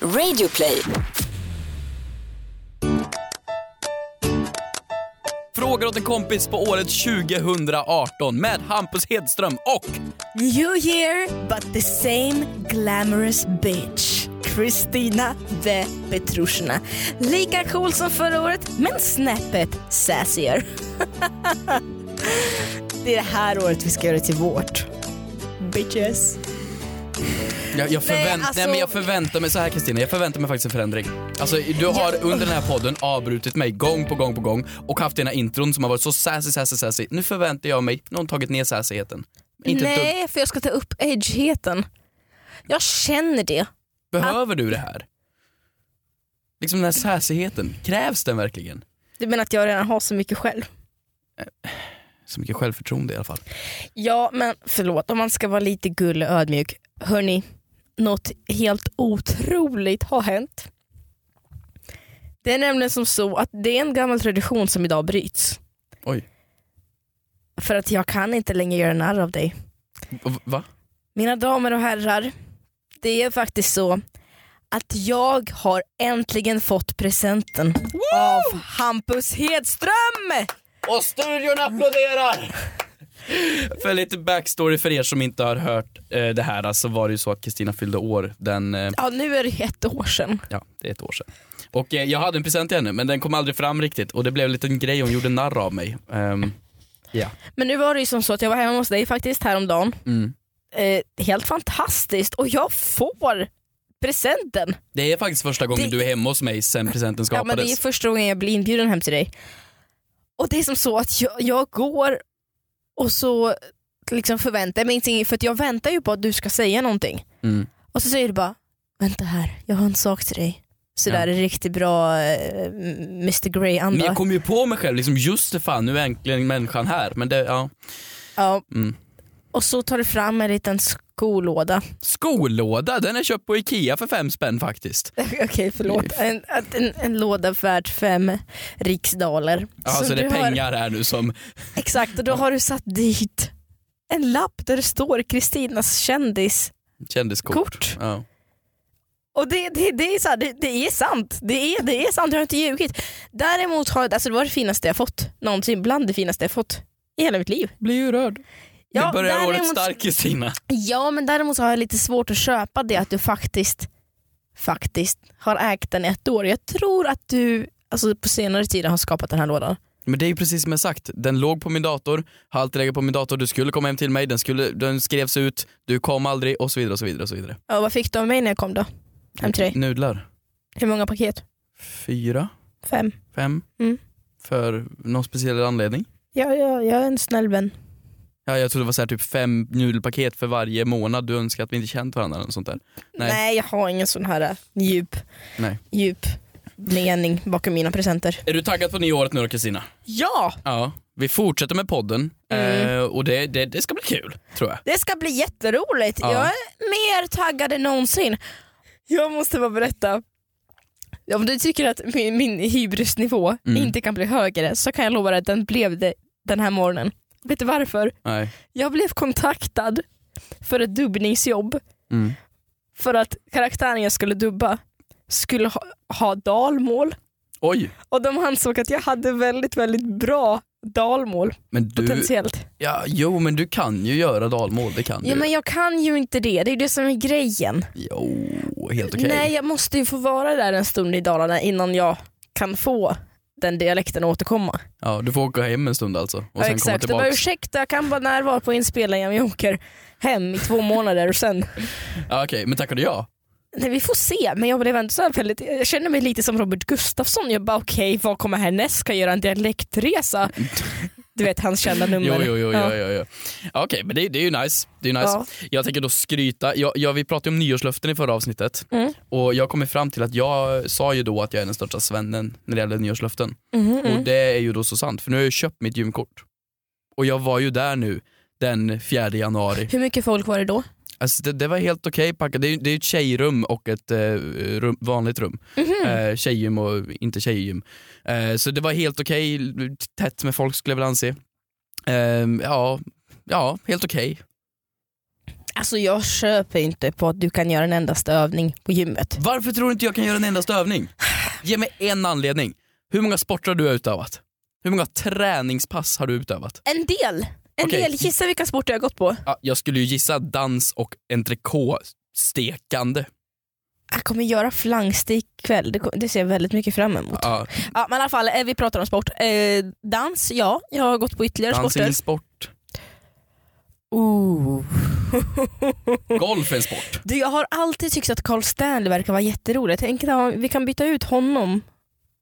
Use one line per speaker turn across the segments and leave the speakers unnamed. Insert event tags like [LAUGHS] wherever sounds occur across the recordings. Radioplay.
Frågor åt en kompis på året 2018 med Hampus Hedström och
New year, but the same glamorous bitch. Kristina the Petrushina. Lika cool som förra året, men snäppet sassier. [LAUGHS] det är det här året vi ska göra till vårt. Bitches.
jag, jag, förvänt, nej,
alltså-
men jag förväntar mig så här Kristina, jag förväntar mig faktiskt en förändring. Alltså du har under den här podden avbrutit mig gång på gång på gång och haft dina intron som har varit så sassy, sassy, sassy. Nu förväntar jag mig någon tagit ner sassigheten. Inte ett dugg.
Nej, för jag ska ta upp edgeheten. Jag känner det.
Behöver du det här? Liksom den här sassigheten, krävs den verkligen?
Du menar att jag redan har så mycket själv?
Så mycket självförtroende i alla fall.
Ja, men förlåt om man ska vara lite gullig och ödmjuk. Hörni, något helt otroligt har hänt. Det är nämligen som så att det är en gammal tradition som idag bryts.
Oj,
För att jag kan inte längre göra narr av dig.
V- va?
Mina damer och herrar, det är faktiskt så att jag har äntligen fått presenten av Hampus Hedström!
Och studion applåderar! för lite backstory för er som inte har hört eh, det här så var det ju så att Kristina fyllde år den, eh,
Ja, nu är det ett år sedan.
ja det är ett år sedan. Och eh, jag hade en present till henne men den kom aldrig fram riktigt och det blev en liten grej, hon gjorde narr av mig. Ehm, ja.
Men nu var det ju som så att jag var hemma hos dig faktiskt häromdagen.
Mm.
eh, helt fantastiskt och jag får presenten.
Det är faktiskt första gången
Det-
du är hemma hos mig sen presenten
Ja, men
skapades.
det är första gången jag blir inbjuden hem till dig. Och det är som så att jag, jag går och så liksom förväntar jag mig ingenting för att jag väntar ju på att du ska säga någonting.
Mm.
Och så säger du bara, vänta här, jag har en sak till dig. Så där är riktigt bra eh, Mr
Men
Grey-anda.
jag kom ju på mig själv, liksom, just det fan nu är äntligen människan här. Men det, ja.
ja.
Mm.
Och så tar du fram en liten skolåda. [LAUGHS]
Skolåda, den är köpt på Ikea för fem spänn faktiskt.
Okej, förlåt. En, att en, en låda värd fem riksdaler.
Ja, så, det är
Alltså, du har-
pengar här nu som,
Exakt, och då har du satt dit en lapp där det står Kristinas kändiskort.
kändiskort. Ja.
Och det, det, det, är så här, det, det är sant. Det är, det är sant, jag har inte ljugit. Däremot har alltså det var det finaste jag fått någonsin, bland det finaste jag fått i hela mitt liv.
Blir ju rörd.
Ja,
nu börjar året
däremot-
starkt Kristina.
Ja, men däremot så har jag lite svårt att köpa det att du faktiskt, faktiskt har ägt den i ett år. Jag tror att du alltså, på senare tid har skapat den här lådan.
Men det är ju precis som jag sagt, den låg på min dator, har alltid legat på min dator, du skulle komma hem till mig, den, skulle, den skrevs ut, du kom aldrig och så vidare och så vidare. Och så vidare.
Ja, vad fick du av mig när jag kom då? Hem till dig?
Nudlar,
Hur många paket?
fyra,
Fem?
fem,
Mm.
för någon speciell anledning.
Ja, ja, jag är en snäll vän.
Ja, jag tror det var så här, typ fem nudelpaket för varje månad du önskar att vi inte känt varandra eller något sånt där. Nej.
Nej. jag har ingen sån här äh, djup,
Nej.
djup mening bakom mina presenter.
Är du taggad på nyåret nu då Kristina?
Ja,
Ja, vi fortsätter med podden
Mm.
eh, och det, det, det ska bli kul tror jag.
det ska bli jätteroligt.
Ja.
Jag är mer taggad än någonsin. Jag måste bara berätta. Om du tycker att min, min hybrisnivå
Mm.
inte kan bli högre så kan jag lova dig att den blev det den här morgonen. Vet du varför?
Nej.
Jag blev kontaktad för ett dubbningsjobb
Mm.
för att karaktären jag skulle dubba skulle ha, ha dalmål.
Oj,
Och de ansåg att jag hade väldigt, väldigt bra dalmål
men du,
potentiellt.
ja, jo men du kan ju göra dalmål, det kan
Ja,
du.
men jag kan ju inte det, det är ju det som är grejen.
Jo, helt okej.
Nej, jag måste ju få vara där en stund i Dalarna innan jag kan få den dialekten att återkomma.
Ja, du får åka hem en stund alltså och
ja,
sen komma
exakt. Det var
tillbaks.
ursäkta, jag kan vara närvara på inspelningen, men jag åker hem i två månader och sen...
Ja, Okej, men tackade jag?
Nej, vi får se, men jag blev ändå så här väldigt... Jag känner mig lite som Robert Gustafsson. Jag bara okej, vad kommer härnäst? Ska jag göra en dialektresa? Du vet, hans kända nummer.
Jo, jo, jo,
Ja.
jo, jo, jo. Ja, Okej, men det, det är ju nice. Det är ju nice.
Ja.
Jag tänker då skryta. Jag, jag, vi pratade om nyårslöften i förra avsnittet
Mm.
och jag kommer fram till att jag sa ju då att jag är den största svennen när det gäller nyårslöften.
Mhm, mm.
Och det är ju då så sant, för nu har jag ju köpt mitt gymkort. Och jag var ju där nu den 4 januari.
Hur mycket folk var det då?
Alltså det, det var helt okej packat. Det är ju det är ju ett tjejrum och ett eh, rum, vanligt rum.
Mhm. Mm.
Eh, tjejgym och inte tjejgym. Eh, så det var helt okej, tätt med Ehm, folk skulle jag väl anse. Eh, ja, ja, helt okej.
Alltså jag köper inte på att du kan göra en endaste övning på gymmet.
Varför tror du inte jag kan göra en endaste övning? Ge mig en anledning. Hur många sporter har du utövat? Hur många träningspass har du utövat?
En del! En
Okej.
del, gissa vilka sporter jag har gått på?
Ja, jag skulle ju gissa dans och entrecote stekande.
Jag kommer göra flangstek ikväll, det, ko- det ser jag väldigt mycket fram emot.
Ja,
Ja, men i alla fall, eh, vi pratar om sport. Eh, dans, ja. Jag har gått på ytterligare
dans är
sporter.
en sport.
Ooh.
Golf är en sport.
Du, jag har alltid tyckt att Carl Stanley verkar vara jätterolig. Jag tänker att vi kan byta ut honom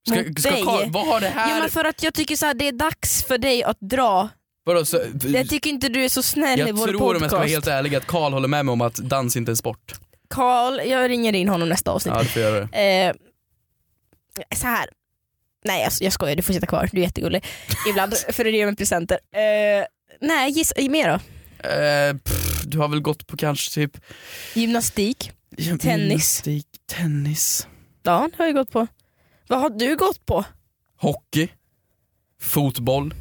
Ska,
mot
ska,
dig.
Carl- vad har det
Ja,
här...
men för att jag tycker så här, det är dags för dig att dra.
vadå, så,
Jag tycker inte du är så snäll i
jag
vår
tror om jag ska vara
podcast. Typ.
helt ärlig att Karl håller med mig om att dans inte är en sport.
Carl, jag ringer in honom nästa avsnitt.
Ja, du får göra det.
Eh, så här. Nej jag, jag skojar, du får sitta kvar. Du är jättegullig.
[LAUGHS]
Ibland, för att ge mig presenter. Eh, nej, gissa mer då.
Eh, pff, du har väl gått på kanske typ...
Gymnastik. Tennis.
Gymnastik, tennis.
Dan har jag gått på. Vad har du gått på?
Hockey. Fotboll.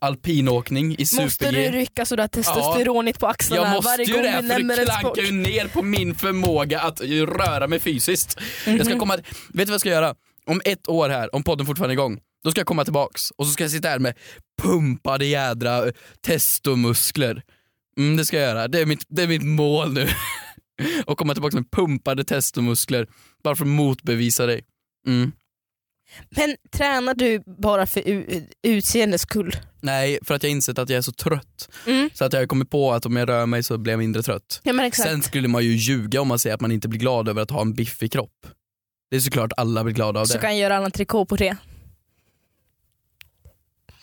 Alpinåkning i
Måste du
super-G.
rycka sådär testosteronigt på axlarna
Jag måste
varje
ju
gång
det,
vi
för
nämner
du
en sport?
klankar ju ner på min förmåga att ju röra mig fysiskt. Jag
Mhm.
ska komma, vet du vad jag ska göra? Om ett år här, om podden fortfarande är igång, då ska jag komma tillbaks och så ska jag sitta här med pumpade jädra eh, testomuskler. Mm, det ska jag göra, det är mitt, det är mitt mål nu. [LAUGHS] och komma tillbaks med pumpade testomuskler, bara för att motbevisa dig. Mm.
Men tränar du bara för u- utseendes skull?
Nej, för att jag insett att jag är så trött.
Mm.
Så att jag har kommit på att om jag rör mig så blir jag mindre trött.
Ja men exakt.
Sen skulle man ju ljuga om man säger att man inte blir glad över att ha en biffig kropp. Det är såklart alla blir glada av
så
det.
kan jag göra en trikot på det.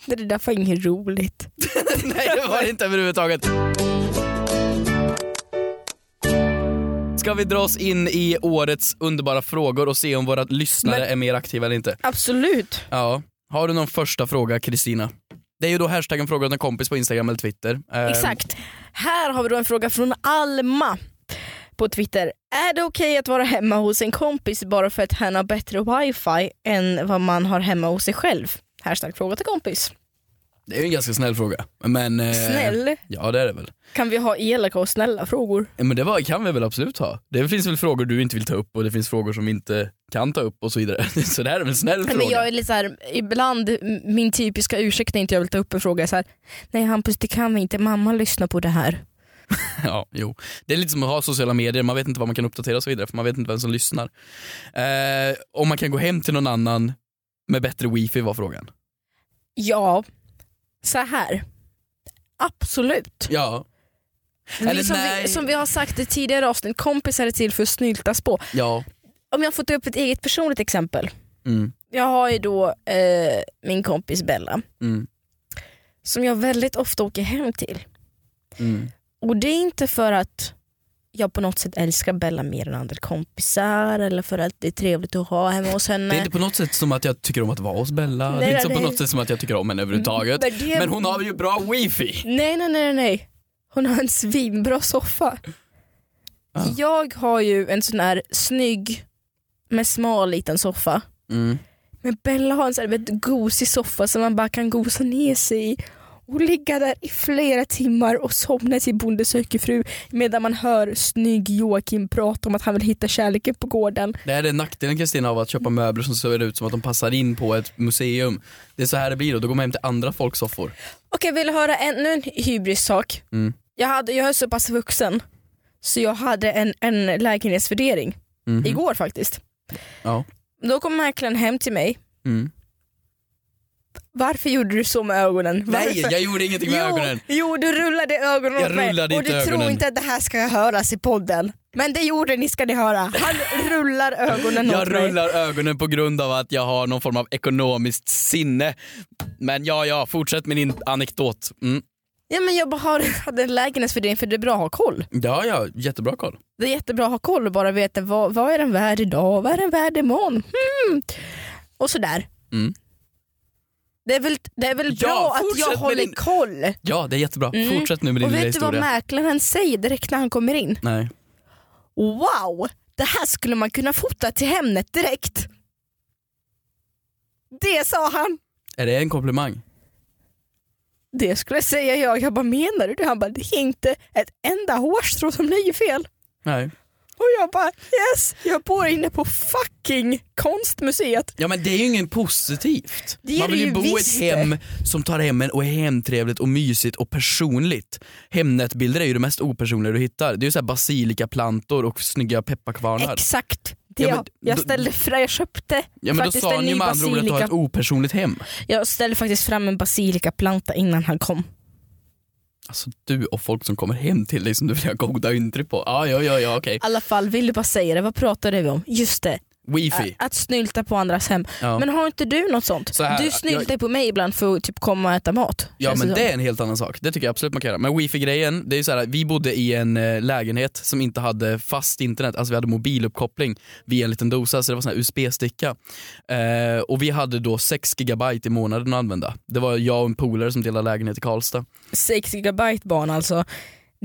Det där var inget roligt.
[LAUGHS] Nej det var det inte överhuvudtaget. Ska vi dra oss in i årets underbara frågor och se om våra lyssnare
Men-
är mer aktiva eller inte?
Absolut.
Ja. Har du någon första fråga Kristina? Det är ju då hashtaggen fråga åt en kompis på Instagram eller Twitter. Ehm,
Exakt. Här har vi då en fråga från Alma på Twitter. Är det okej att vara hemma hos en kompis bara för att hen har bättre wifi än vad man har hemma hos sig själv? Hashtag fråga till kompis.
Det är ju en ganska snäll fråga. Men, eh,
Snäll,
Ja det är det väl.
kan vi ha elaka och snälla frågor?
Ja, Men det var, kan vi väl absolut ha. Det finns väl frågor du inte vill ta upp och det finns frågor som vi inte kan ta upp och så vidare. [LAUGHS] Så det här är väl en snäll
Men
fråga.
jag är lite så här, ibland m- min typiska ursäkt när inte jag vill ta upp en fråga är så här, nej Hampus det kan vi inte, mamma lyssnar på det här.
Ja, jo. Det är lite som att ha sociala medier, man vet inte vad man kan uppdatera och så vidare för man vet inte vem som lyssnar. Eh, om man kan gå hem till någon annan med bättre wifi var frågan.
Ja, så här. Absolut.
Ja, Eller
Vi, som,
nej.
vi, som vi har sagt i tidigare avsnitt, kompisar är till för att snyltas på.
ja.
Om jag får ta upp ett eget personligt exempel.
Mm,
Jag har ju då eh, min kompis Bella
mm,
som jag väldigt ofta åker hem till.
mm.
Och det är inte för att jag på något sätt älskar Bella mer än andra kompisar eller för att det är trevligt att ha hemma hos henne.
Det är inte på något sätt som att jag tycker om att vara hos Bella,
Nej,
det är inte
nej, Mm,
så på
nej.
något sätt som att jag tycker om henne överhuvudtaget.
Men det-
Men hon har ju bra wifi.
Nej, nej, nej, nej. Hon har en svinbra soffa.
Ah.
Jag har ju en sån här snygg med smal liten soffa.
Mm.
Men Bella har en sån här väldigt gosig soffa som man bara kan gosa ner sig i och ligga där i flera timmar och somna till Bonde söker fru medan man hör snygg Joakim prata om att han vill hitta kärleken på gården.
Det här är nackdelen Kristina av att köpa möbler som ser ut som att de passar in på ett museum. Det är så här det blir då, då går man hem till andra folks soffor.
Okej, vill du höra ännu en hybris-sak?
Mm.
Jag, hade, jag är så pass vuxen så jag hade en, en lägenhetsvärdering
Mhm.
igår faktiskt.
Ja.
Då kom mäklaren hem till mig.
Mm.
Varför gjorde du så med ögonen?
Nej,
Varför?
jag gjorde ingenting med
jo,
ögonen.
Jo, du rullade ögonen
Jag
åt mig
rullade
och
inte
du tror
ögonen.
inte att det här ska höras i podden. Men det gjorde ni ska ni höra. Han rullar ögonen åt
Jag
mig.
rullar ögonen på grund av att jag har någon form av ekonomiskt sinne. Men ja, ja, fortsätt min in- anekdot. Mm.
Ja, men jag bara har, hade en lägenhetsvärdering för det är bra att ha koll.
Ja, ja, jättebra koll.
Det är jättebra att ha koll och bara veta vad, vad är den värd idag, vad är den värd imorgon. Hmm. Och sådär.
Mm.
Det är väl, det är väl
Ja,
bra att
fortsätt
jag
med
håller
din-
koll.
Ja, det är jättebra.
Mm.
Fortsätt nu med din
Och
lilla
vet du vad
historia.
mäklaren säger direkt när han kommer in?
Nej.
Wow, det här skulle man kunna fota till Hemnet direkt. Det sa han.
Är det en komplimang?
Det skulle jag säga jag. Jag bara menar du det? Han bara det är inte ett enda hårstrå som blir fel.
Nej.
Och jag bara yes, jag bor inne på fucking konstmuseet.
Ja men det är ju inget positivt.
Det är
Man
det
vill ju
ju
bo i ett
visst det.
hem som tar hem en och är hemtrevligt och mysigt och personligt. Hemnätbilder är ju det mest opersonliga du hittar. Det är ju såhär basilikaplantor och snygga pepparkvarnar.
Exakt. Det
Ja, men
jag,
då-
jag ställde fram, jag köpte
Ja men då
faktiskt
sa
en
ni
ny
med andra ord att du har
basilika.
ett opersonligt hem.
Jag ställde faktiskt fram en basilikaplanta innan han kom.
Alltså du och folk som kommer hem till dig som du vill ha goda intryck på. Ah, ja, ja, ja, okej.
I alla fall, vill du bara säga det? Vad pratade vi om? Just det,
Wifi.
att snylta på andras hem.
Ja.
Äh, Men har inte du något sånt?
Så här,
du snyltar ju på mig ibland för att typ komma och äta mat. Alltså,
Ja
Känns
men
som.
det är en helt annan sak, det tycker jag absolut man kan göra. Men wifi-grejen, det är ju så här, vi bodde i en eh, lägenhet som inte hade fast internet, alltså vi hade mobiluppkoppling via en liten dosa, så det var sån här USB-sticka. Eh, och vi hade då 6 gigabyte i månaden att använda. Det var jag och en polare som delade lägenhet i Karlstad.
6 gigabyte barn alltså.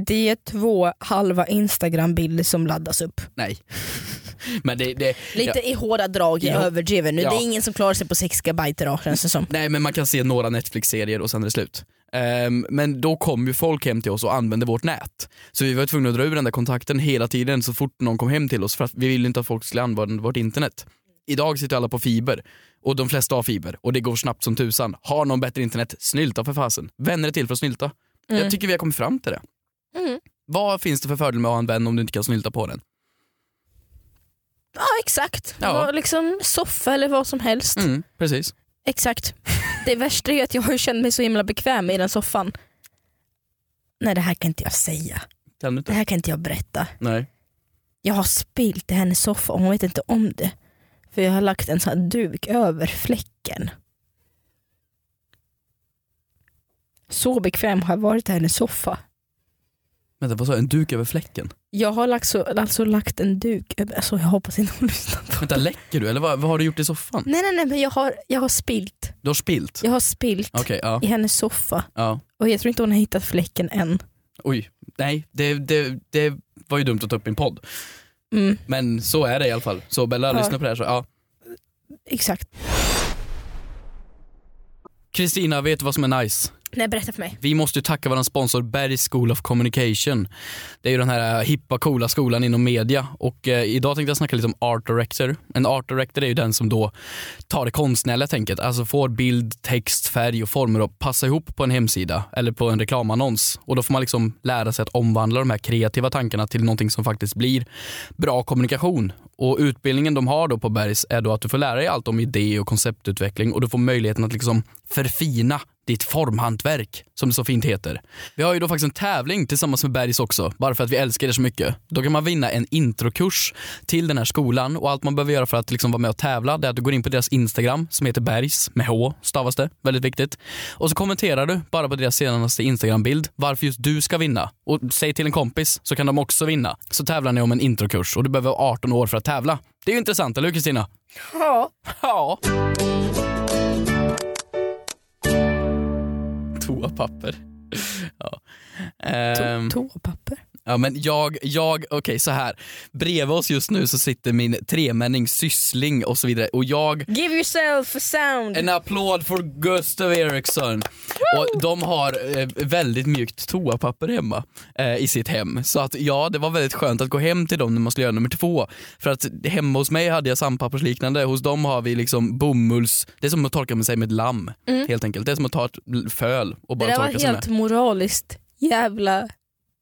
Det är två halva Instagram-bilder som laddas upp.
Nej. [LAUGHS] men det, det,
Lite i hårda drag, jag
Ja.
överdriver nu.
Ja.
Det är ingen som klarar sig på 6 gigabyte idag känns det som.
Nej men man kan se några Netflix-serier och sen är det slut. Ehm, men då kom ju folk hem till oss och använde vårt nät. Så vi var tvungna att dra ur den där kontakten hela tiden så fort någon kom hem till oss för att vi ville inte att folk skulle använda vårt internet. Idag sitter alla på fiber och de flesta har fiber och det går snabbt som tusan. Har någon bättre internet, snylta för fasen. Vänner är till för att snylta.
Mm.
Jag tycker vi har kommit fram till det.
Mm.
Vad finns det för fördel med att ha en vän om du inte kan snylta på den?
Ja exakt,
Ja.
Vad, liksom soffa eller vad som helst.
Mm, precis.
Exakt. Det värsta är att jag har ju känt mig så himla bekväm i den soffan. Nej det här kan inte jag säga.
Kan du
Det
inte?
här kan inte jag berätta.
Nej.
Jag har spilt i hennes soffa och hon vet inte om det. För jag har lagt en sån här duk över fläcken. Så bekväm har jag varit i hennes soffa.
Vänta, vad sa jag? En duk över fläcken?
Jag har lagt så, alltså lagt en duk över, alltså jag hoppas inte hon [LAUGHS] lyssnar på
Vänta, läcker du eller vad, vad har du gjort i soffan?
Nej nej nej men jag har, jag har spilt.
Du har spilt?
Jag har spilt
Okej, ja.
i hennes soffa.
ja.
Och jag tror inte hon har hittat fläcken än.
Oj, nej det, det, det var ju dumt att ta upp i en podd.
Mm,
Men så är det i alla fall. Så Bella,
Ja.
lyssna på det här. Så, ja.
exakt.
Kristina, vet du vad som är nice?
Nej berätta för mig.
Vi måste ju tacka vår sponsor Bergs School of Communication. Det är ju den här eh, hippa coola skolan inom media och eh, idag tänkte jag snacka lite om art director. En art director är ju den som då tar det konstnärliga tänket, alltså får bild, text, färg och former att passa ihop på en hemsida eller på en reklamannons och då får man liksom lära sig att omvandla de här kreativa tankarna till någonting som faktiskt blir bra kommunikation. Och utbildningen de har då på Bergs är då att du får lära dig allt om idé och konceptutveckling och du får möjligheten att liksom förfina ditt formhantverk, som det så fint heter. Vi har ju då faktiskt en tävling tillsammans med Bergs också, bara för att vi älskar det så mycket. Då kan man vinna en introkurs till den här skolan och allt man behöver göra för att liksom vara med och tävla det är att du går in på deras Instagram som heter Bergs, med H stavas det, väldigt viktigt. Och så kommenterar du bara på deras senaste Instagram-bild varför just du ska vinna. Och säg till en kompis så kan de också vinna. Så tävlar ni om en introkurs och du behöver vara 18 år för att tävla. Det är ju intressant, eller hur Kristina?
Ja.
Ja. Toapapper. Ja. Ehm,
Toapapper.
ja men jag, jag, okej så här. Bredvid oss just nu så sitter min tremänning Syssling och så vidare och jag
Give yourself a sound.
en applåd för Gustav Eriksson. Och de har eh, väldigt mjukt toapapper hemma eh, i sitt hem. Så att ja, det var väldigt skönt att gå hem till dem när man skulle göra nummer två. För att hemma hos mig hade jag sandpappersliknande, hos dem har vi liksom bomulls... Det är som att torka med sig med ett lamm helt enkelt. Det är som att ta ett l- föl och
Mm. det
bara
där
torka
var
sig med.
helt moraliskt jävla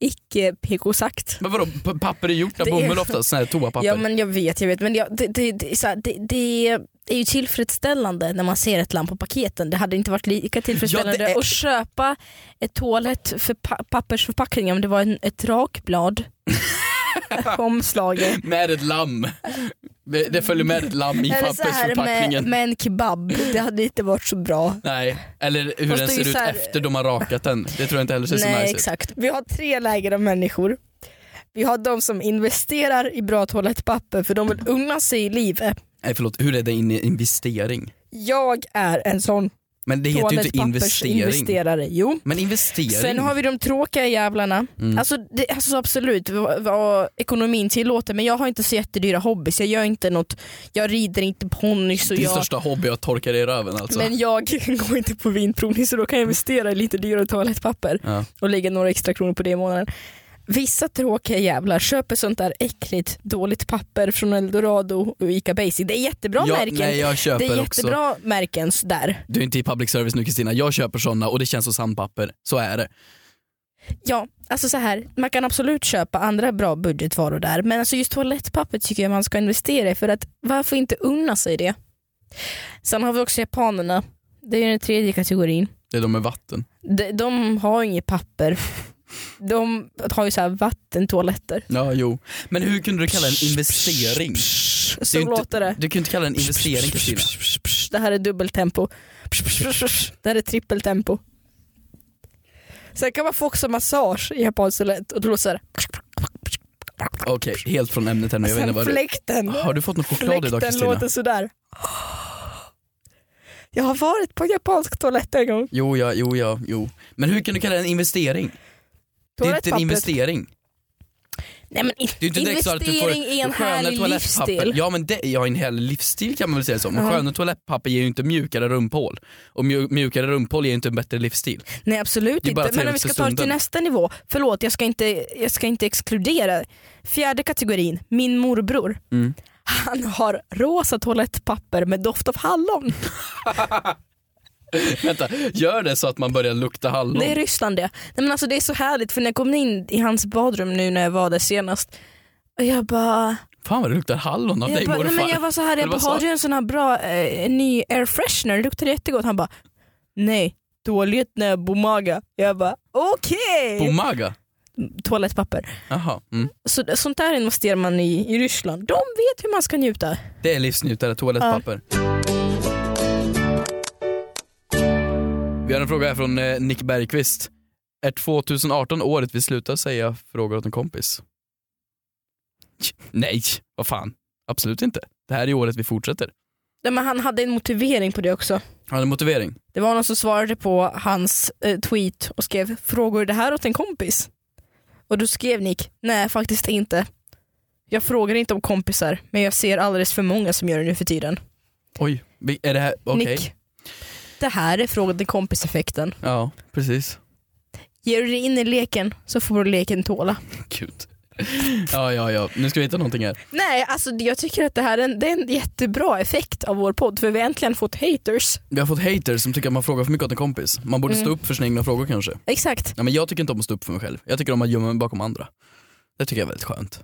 icke PK-sagt.
Men vadå, p- papper är gjort av
Det är-
bomull oftast, sån här toapapper.
Ja men jag vet, jag vet. Men jag, det, det, det, är så här, det, det är ju tillfredsställande när man ser ett land på paketen. Det hade inte varit lika tillfredsställande
är-
att köpa ett toalett för pa- pappersförpackning om det var en,
[LAUGHS]
ett rakblad på omslaget.
Med ett lamm. Det det följer med ett lamm i
Eller så här med,
pappersförpackningen.
med en kebab, det hade inte varit så bra.
Nej, eller hur
Fast
den
det är
ser
ju
ut
så här-
efter de har rakat den. Det tror jag inte heller ser så
Nej
nice ut.
exakt. Vi har tre läger av människor. Vi har de som investerar i bra toalettpapper för de vill unna sig i livet.
Nej förlåt, hur är det en investering?
Jag är en sån.
Men det heter ju inte investering.
Investerare. Jo.
Men investering?
Sen har vi de tråkiga jävlarna.
Mm.
Alltså, det, alltså absolut vad, vad ekonomin tillåter men jag har inte så jättedyra hobbys. Jag gör inte något, jag rider inte ponnys och
Din
jag,
största hobby är att torka dig i röven alltså?
men jag [LAUGHS] går inte på vinprovning så då kan jag investera i lite dyrare toalettpapper
Ja.
och lägga några extra kronor på det i månaden. Vissa tråkiga jävlar köper sånt där äckligt dåligt papper från Eldorado och Ica Basic. Det är jättebra
jag,
märken.
Nej jag
det
köper
är
också.
jättebra märken där.
Du är inte i public service nu Kristina, jag köper såna och det känns som sandpapper. Så är det.
Ja, alltså så här, man kan absolut köpa andra bra budgetvaror där men alltså just toalettpapper tycker jag man ska investera i för att varför inte unna sig det? Sen har vi också japanerna, det är den tredje kategorin.
Det är de med vatten.
De, de har inget papper. De har ju så här vattentoaletter.
Ja, jo. Men hur kunde du kalla det en investering?
Så
är ju inte-
låter det.
Du kunde inte kalla det en investering Kristina.
Det här är dubbeltempo. Det här är trippeltempo. Sen kan man få också massage i japansk toalett och då låter det så här.
Okej, helt från ämnet här nu. Jag vet inte
Sen
vad du...
fläkten.
Har du fått någon choklad idag
Fläkten
Kristina?
låter sådär. Jag har varit på japansk toalett en gång.
Jo, ja, jo, ja, jo. Men hur kan du kalla det en investering? Det är inte en
Toalettpappret.
investering.
Nej, men in-
Det är inte direkt så att du får
investering i en
sköna
härlig
toalettpapper.
livsstil.
Ja men det, ja, en härlig livsstil kan man väl säga så. Men
Ja.
sköna toalettpapper ger ju inte mjukare rumphål. Och mju- mjukare rumphål ger ju inte en bättre livsstil. [LAUGHS]
Nej absolut
Det är bara
inte. Men om vi
trevligt
ska
för
ta det till
stunden.
nästa nivå. Förlåt jag ska inte, jag ska inte exkludera. Fjärde kategorin, min morbror.
Mm.
Han har rosa toalettpapper med doft av hallon.
Vänta, gör det så att man börjar lukta hallon.
Det är Ryssland det. Nej, men alltså, det är så härligt för när jag kom in i hans badrum nu när jag var där senast och jag bara
Fan vad det luktar hallon av
Jag,
dig
bara, nej,
morfar.
men jag var så här, jag
Eller
bara,
vad
har
sa-
du en sån här bra eh, ny air freshener? Det luktar jättegott. Han bara, nej, dåligt när jag bomaga. Jag bara, okej!
Bomaga?
Toalettpapper.
Jaha. Mm.
Så, sånt där investerar man i, i Ryssland. De vet hur man ska njuta.
Det är livsnjutare, toalettpapper. Vi har en fråga här från eh, Nick Bergqvist. Är 2018 året vi slutar säga frågor åt en kompis? Nej, vad fan. Absolut inte. Det här är året vi fortsätter.
Nej, men han hade en motivering på det också.
Har du en motivering?
Det var någon som svarade på hans eh, tweet och skrev “Frågar du det här åt en kompis?” Och då skrev Nick “Nej, faktiskt inte. Jag frågar inte om kompisar, men jag ser alldeles för många som gör det nu för tiden.”
Oj, vi- är det här... Okej.
Nick. Det här är frågan till kompiseffekten.
Ja, precis.
Ger du dig in i leken så får du leken tåla.
Gud. Ja, ja, ja. Nu ska vi hitta någonting här.
Nej, alltså jag tycker att det här är en, det är en jättebra effekt av vår podd för vi har äntligen fått haters.
Vi har fått haters som tycker att man frågar för mycket åt en kompis. Man borde stå upp för sina egna frågor kanske.
Exakt.
Ja, men jag tycker inte om att stå upp för mig själv. Jag tycker om att gömma mig bakom andra. Det tycker jag är väldigt skönt.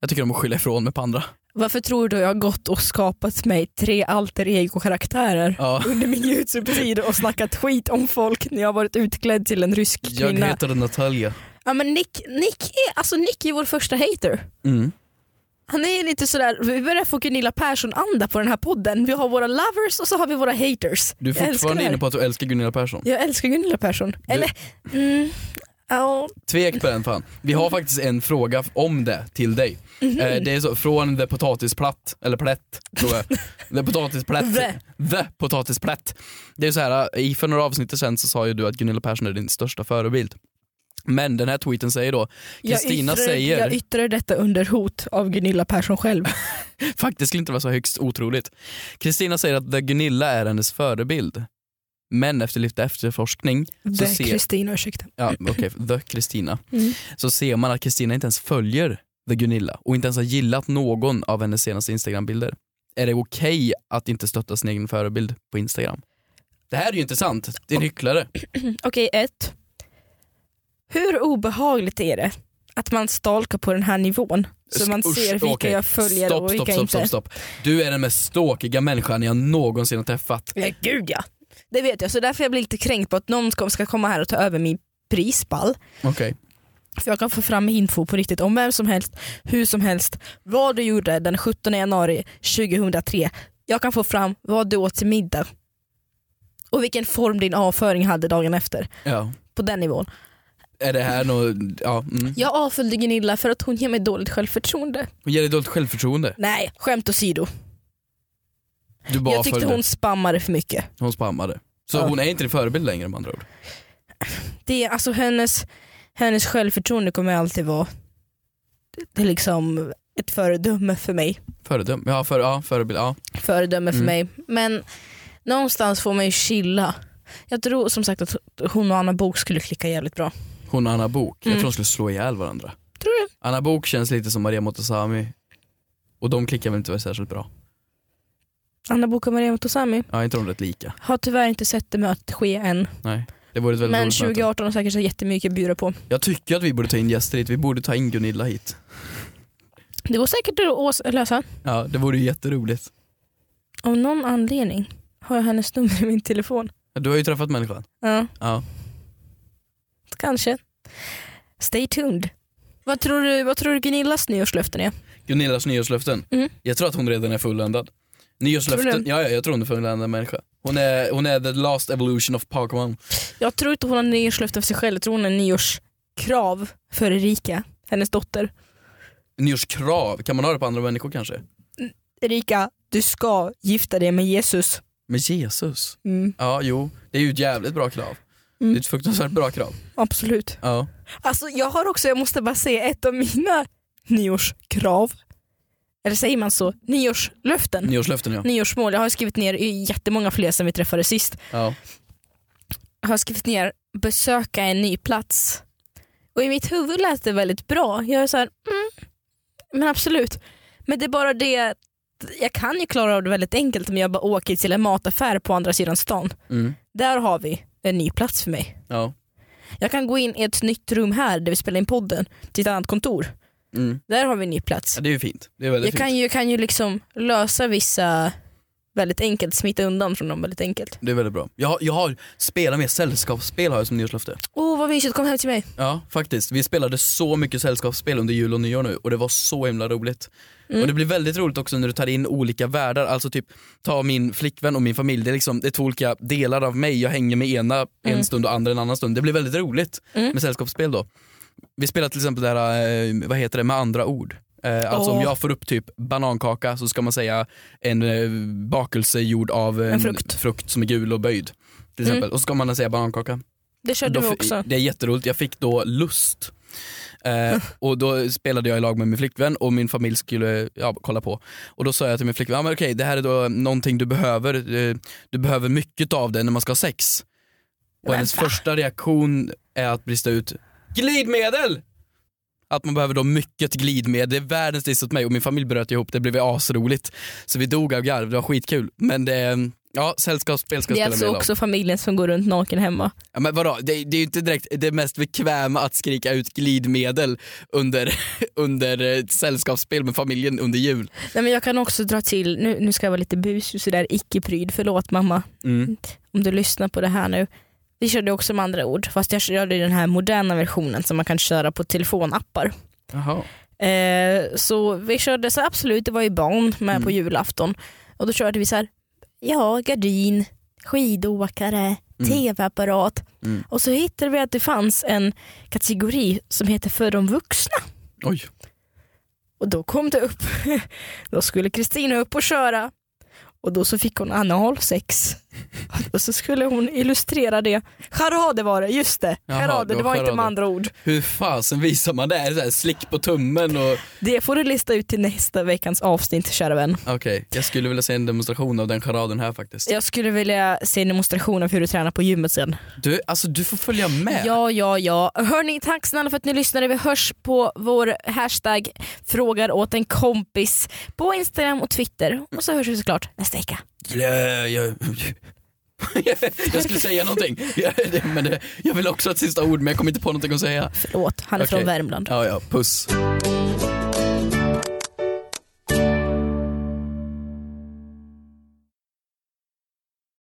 Jag tycker om att skylla ifrån mig på andra.
Varför tror du jag har gått och skapat mig tre alter ego-karaktärer
Ja,
under min Youtube-tid och snackat skit om folk när jag har varit utklädd till en rysk
jag
kvinna?
heter Natalia.
Ja men Nick, Nick, är, alltså Nick är vår första hater.
Mm.
Han är lite sådär, vi börjar få Gunilla Persson-anda på den här podden. Vi har våra lovers och så har vi våra haters.
Du är
Jag älskar det
fortfarande
här.
inne på att du älskar Gunilla Persson.
Jag älskar Gunilla Persson. Eller, mm, ja,
Tvek på den fan. Vi har faktiskt en fråga om det till dig.
mm-hmm.
Eh, det är så, från The Potatisplatt, eller Plätt tror
[LAUGHS]
jag. The Potatisplatt.
The.
The Potatisplatt. Det är så här, eh, i för några avsnitt sen så sa ju du att Gunilla Persson är din största förebild. Men den här tweeten säger då,
jag,
Kristina
yttrar,
säger-
jag yttrar detta under hot av Gunilla Persson själv.
Faktiskt skulle inte vara så högst otroligt. Kristina säger att The Gunilla är hennes förebild. Men efter lite efterforskning, så
Det är
ser,
Kristina, ursäkta.
ja, okej, The Kristina,
Mm.
så ser man att Kristina inte ens följer The Gunilla och inte ens har gillat någon av hennes senaste Instagram-bilder. Är det okej att inte stötta sin egen förebild på Instagram? Det här är ju intressant, det är en hycklare.
Okej, ett. Hur obehagligt är det att man stalkar på den här nivån? Så man
Usch,
ser vilka
okej.
jag följer
stopp,
och vilka
stopp, stopp,
inte.
Stopp, stopp. Du är den mest stalkiga människan jag någonsin har träffat.
Ja, Eh, gud ja. Det vet jag, så därför jag blir lite kränkt på att någon ska, ska komma här och ta över min prispall.
Okej.
För jag kan få fram info på riktigt om vem som helst, hur som helst, vad du gjorde den 17 januari 2003. Jag kan få fram vad du åt till middag och vilken form din avföring hade dagen efter.
Ja.
På den nivån.
Är det här något, ja. Mm.
Jag avföljde Gunilla för att hon ger mig dåligt självförtroende.
Hon ger dig dåligt självförtroende.
Nej, skämt åsido.
Du bara
jag tyckte
följde.
hon spammade för mycket.
Hon spammade. Så
Ja.
hon är inte din förebild längre med andra ord.
Det, är- alltså hennes, hennes självförtroende kommer alltid vara det är liksom ett föredöme för mig.
Föredöme, ja, för, ja förebild, ja.
Föredöme för
Mm.
mig. Men någonstans får man ju chilla. Jag tror som sagt att hon och Anna Bok skulle klicka jävligt bra.
Hon och Anna Bok jag
Mm.
tror de skulle slå ihjäl varandra.
Tror du?
Anna Bok känns lite som Maria Montazami. Och de klickar väl inte särskilt bra.
Anna Bok och Maria Montazami
Ja, inte de rätt lika.
har tyvärr inte sett det mötet ske än.
Nej. Det vore ett väldigt
Men
roligt möte.
2018 har säkert så jättemycket att bjuda på.
Jag tycker att vi borde ta in gäster hit. Vi borde ta in Gunilla hit.
Det går säkert att ås- lösa.
Ja, det vore ju jätteroligt.
Av någon anledning har jag hennes nummer i min telefon.
Du har ju träffat människan.
Ja,
Ja.
kanske. Stay tuned. Vad tror du, vad tror du Gunillas nyårslöften är?
Gunillas nyårslöften.
Mm.
Jag tror att hon redan är fulländad.
Tror
Nyårslöften,
du?
ja, ja jag tror hon är fulländad människa. Hon är, hon är the last evolution of Pokémon.
Jag tror inte hon har nyårslöften för sig själv. Jag tror hon har nyårskrav för Erika, hennes dotter.
Nyårskrav, kan man ha det på andra människor kanske?
Erika, du ska gifta dig med Jesus.
Men Jesus.
Mm,
Ja, jo. Det är ju ett jävligt bra krav.
Mm.
Det är ett fruktansvärt bra krav.
absolut.
Ja.
Alltså jag har också, jag måste bara säga ett av mina nyårskrav. Eller säger man så? Nyårslöften.
Nyårslöften ja.
Nyårsmål. Jag har skrivit ner i jättemånga fler sen vi träffades sist.
ja.
Jag har skrivit ner besöka en ny plats. Och i mitt huvud lät det väldigt bra. Jag är så här, mm, men absolut. Men det är bara det att jag kan ju klara av det väldigt enkelt om jag bara åker till en mataffär på andra sidan stan.
Mm.
Där har vi en ny plats för mig.
Ja.
Jag kan gå in i ett nytt rum här där vi spelar in podden till ett annat kontor.
Mm.
Där har vi en ny plats.
ja. Det är ju fint. Det är väldigt
Jag
fint.
kan ju, kan ju liksom lösa vissa väldigt enkelt, smita undan från dem väldigt enkelt.
Det är väldigt bra. Jag, har- jag har spelat med sällskapsspel har jag som nyårslöfte.
Åh oh, vad mysigt, kom hem till mig.
Ja faktiskt. Vi spelade så mycket sällskapsspel under jul och nyår nu och det var så himla roligt.
Mm.
Och det blir väldigt roligt också när du tar in olika världar, alltså typ ta min flickvän och min familj, det är, liksom, det är två olika delar av mig, jag hänger med ena en
Mm.
stund och andra en annan stund. Det blir väldigt roligt
Mm.
med sällskapsspel då. Vi spelar till exempel det här, eh, vad heter det, med andra ord. Eh, Alltså om
Åh.
jag får upp typ banankaka så ska man säga en eh, bakelse gjord av eh,
En frukt. Mm.
som är gul och böjd. Till exempel. Och så ska man säga banankaka.
Det körde
Då
vi
fi-
också.
Det är jätteroligt, jag fick då lust.
[LAUGHS]
Eh, och då spelade jag i lag med min flickvän och min familj skulle ja, kolla på. Och då sa jag till min flickvän, ah, men okej det här är då någonting du behöver, eh, du behöver mycket av det när man ska ha sex. Och
Men
hennes
va?
första reaktion är att brista ut, glidmedel! Att man behöver då mycket glidmedel, det är världens diss åt mig och min familj bröt ihop, det blev asroligt. Så vi dog av garv, det var skitkul. Men det, ja sällskapsspel ska jag
Det
spela
är alltså
med i lag.
också familjen som går runt naken hemma.
Ja, men vadå, det, det är ju inte direkt det mest bekväma att skrika ut glidmedel under, [LAUGHS] under ett sällskapsspel med familjen under jul.
Nej, men jag kan också dra till, nu, nu ska jag vara lite busig och sådär, icke-pryd, förlåt mamma
Mm.
om du lyssnar på det här nu. Vi körde också med andra ord, fast jag körde den här moderna versionen som man kan köra på telefonappar.
Jaha.
Eh, så vi körde så absolut, det var ju barn med
Mm.
på julafton. Och då körde vi så här, ja gardin, skidåkare, tv-apparat.
Mm.
Och så hittade vi att det fanns en kategori som heter för de vuxna.
Oj.
Och då kom det upp, [LAUGHS] då skulle Kristina upp och köra. Och då så fick hon analsex. [LAUGHS] Och så skulle hon illustrera det. Charader var det, just det.
Jaha,
Charader,
det var
det var, inte
charader.
med andra ord.
Hur fasen visar man det? Är det så här, slick på tummen och...
Det får du lista ut till nästa veckans avsnitt kära vän.
Okej, jag skulle vilja se en demonstration av den charaden här faktiskt.
Jag skulle vilja se en demonstration av hur du tränar på gymmet sen.
Du, alltså du får följa med.
Ja, ja, ja. Hörni, tack snälla för att ni lyssnade. Vi hörs på vår hashtag frågar åt en kompis på Instagram och Twitter. Och så hörs vi såklart nästa vecka.
Jag, jag, [LAUGHS] jag skulle säga någonting, Ja, det- men det, jag vill också ha ett sista ord men jag kommer inte på någonting att säga.
Förlåt, han är
Okej.
från Värmland.
Ja, ja, puss.